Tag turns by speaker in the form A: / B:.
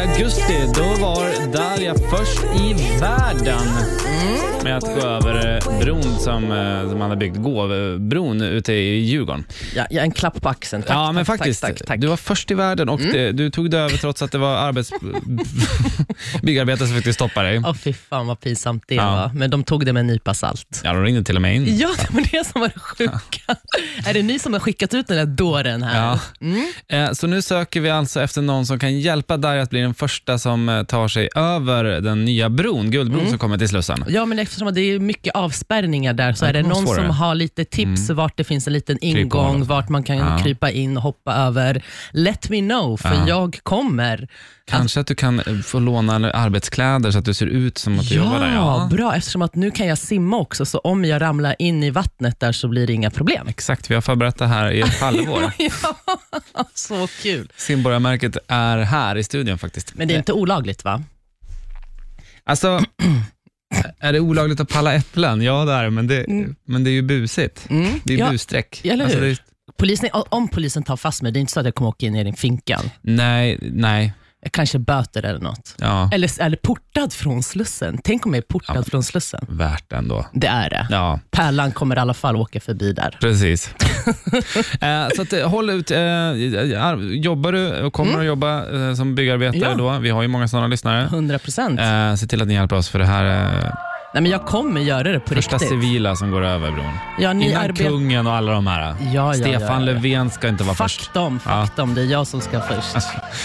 A: augusti, då var Darja först i världen med att gå över eh, bron som, eh, som man har byggt, gåbron ute i Djurgården.
B: Ja, ja, en klapp på axeln. Tack,
A: ja,
B: tack,
A: men
B: tack,
A: faktiskt.
B: Tack, tack, Mm. tack.
A: Du var först i världen och det, du tog det över trots att det var arbets... byggarbetare som fick stoppa dig.
B: Åh, fy fan vad pinsamt det
A: Ja.
B: var. Men de tog det med en nypa salt.
A: Ja, de ringde till och med in.
B: Ja, det var det som var det sjuka. Är det ni som har skickat ut den där dåren här?
A: Ja.
B: Mm.
A: Eh, Så nu söker vi alltså efter någon som kan hjälpa Darja att bli den första som eh, tar sig över den nya bron, Guldbron,
B: Mm.
A: som kommer till Slussen.
B: Ja, men eftersom det är mycket avspärrningar där så
A: Ja,
B: är det
A: det kommer
B: någon
A: vara
B: som
A: svårare.
B: har lite tips vart det finns en liten ingång,
A: Kryphål.
B: vart man kan
A: Ja.
B: krypa in och hoppa över. Let me know, för
A: Ja.
B: jag kommer.
A: Kanske att du kan eh, få låna arbetskläder så att du ser ut som att du jobbar där.
B: Ja, bra. Eftersom att nu kan jag simma också, så om jag ramlar in i vattnet där så blir det inga problem.
A: Exakt, vi har förberett det här i ett halvår.
B: Ja, så kul.
A: Simborgarmärket är här i studion faktiskt. Eh,
B: Men det är inte olagligt va?
A: Alltså, är det olagligt att palla äpplen? Ja, det är det, men det, men det är ju busigt.
B: Mm.
A: Det är
B: Ja,
A: busstreck.
B: eller
A: Alltså,
B: hur?
A: det är,
B: Polisen, om polisen tar fast mig, det är inte så att jag kommer åka in i den finkan.
A: nej, nej.
B: Jag Kanske böter eller något.
A: Ja,
B: Eller, eller portad från Slussen. Tänk om jag är portad
A: Ja, men-
B: från Slussen.
A: värt ändå.
B: Det är det.
A: Ja,
B: Pärlan kommer i alla fall åka förbi där.
A: Precis. eh, så att, eh, håll ut. Eh, ar- jobbar du och kommer att jobba eh, som byggarbetare
B: Mm. Ja.
A: då? Vi har ju många sådana lyssnare.
B: 100 procent.
A: Eh, se till att ni hjälper oss för det här är
B: Nej, men jag kommer göra det på
A: första
B: riktigt.
A: civila som går över bron.
B: ja, ni
A: Innan
B: arbetar...
A: kungen och alla de här.
B: ja, ja,
A: Stefan
B: ja, ja.
A: Löfven ska inte vara först.
B: Fuck dem, fuck
A: Ja. Alltså.
B: dem. Det är jag som ska först.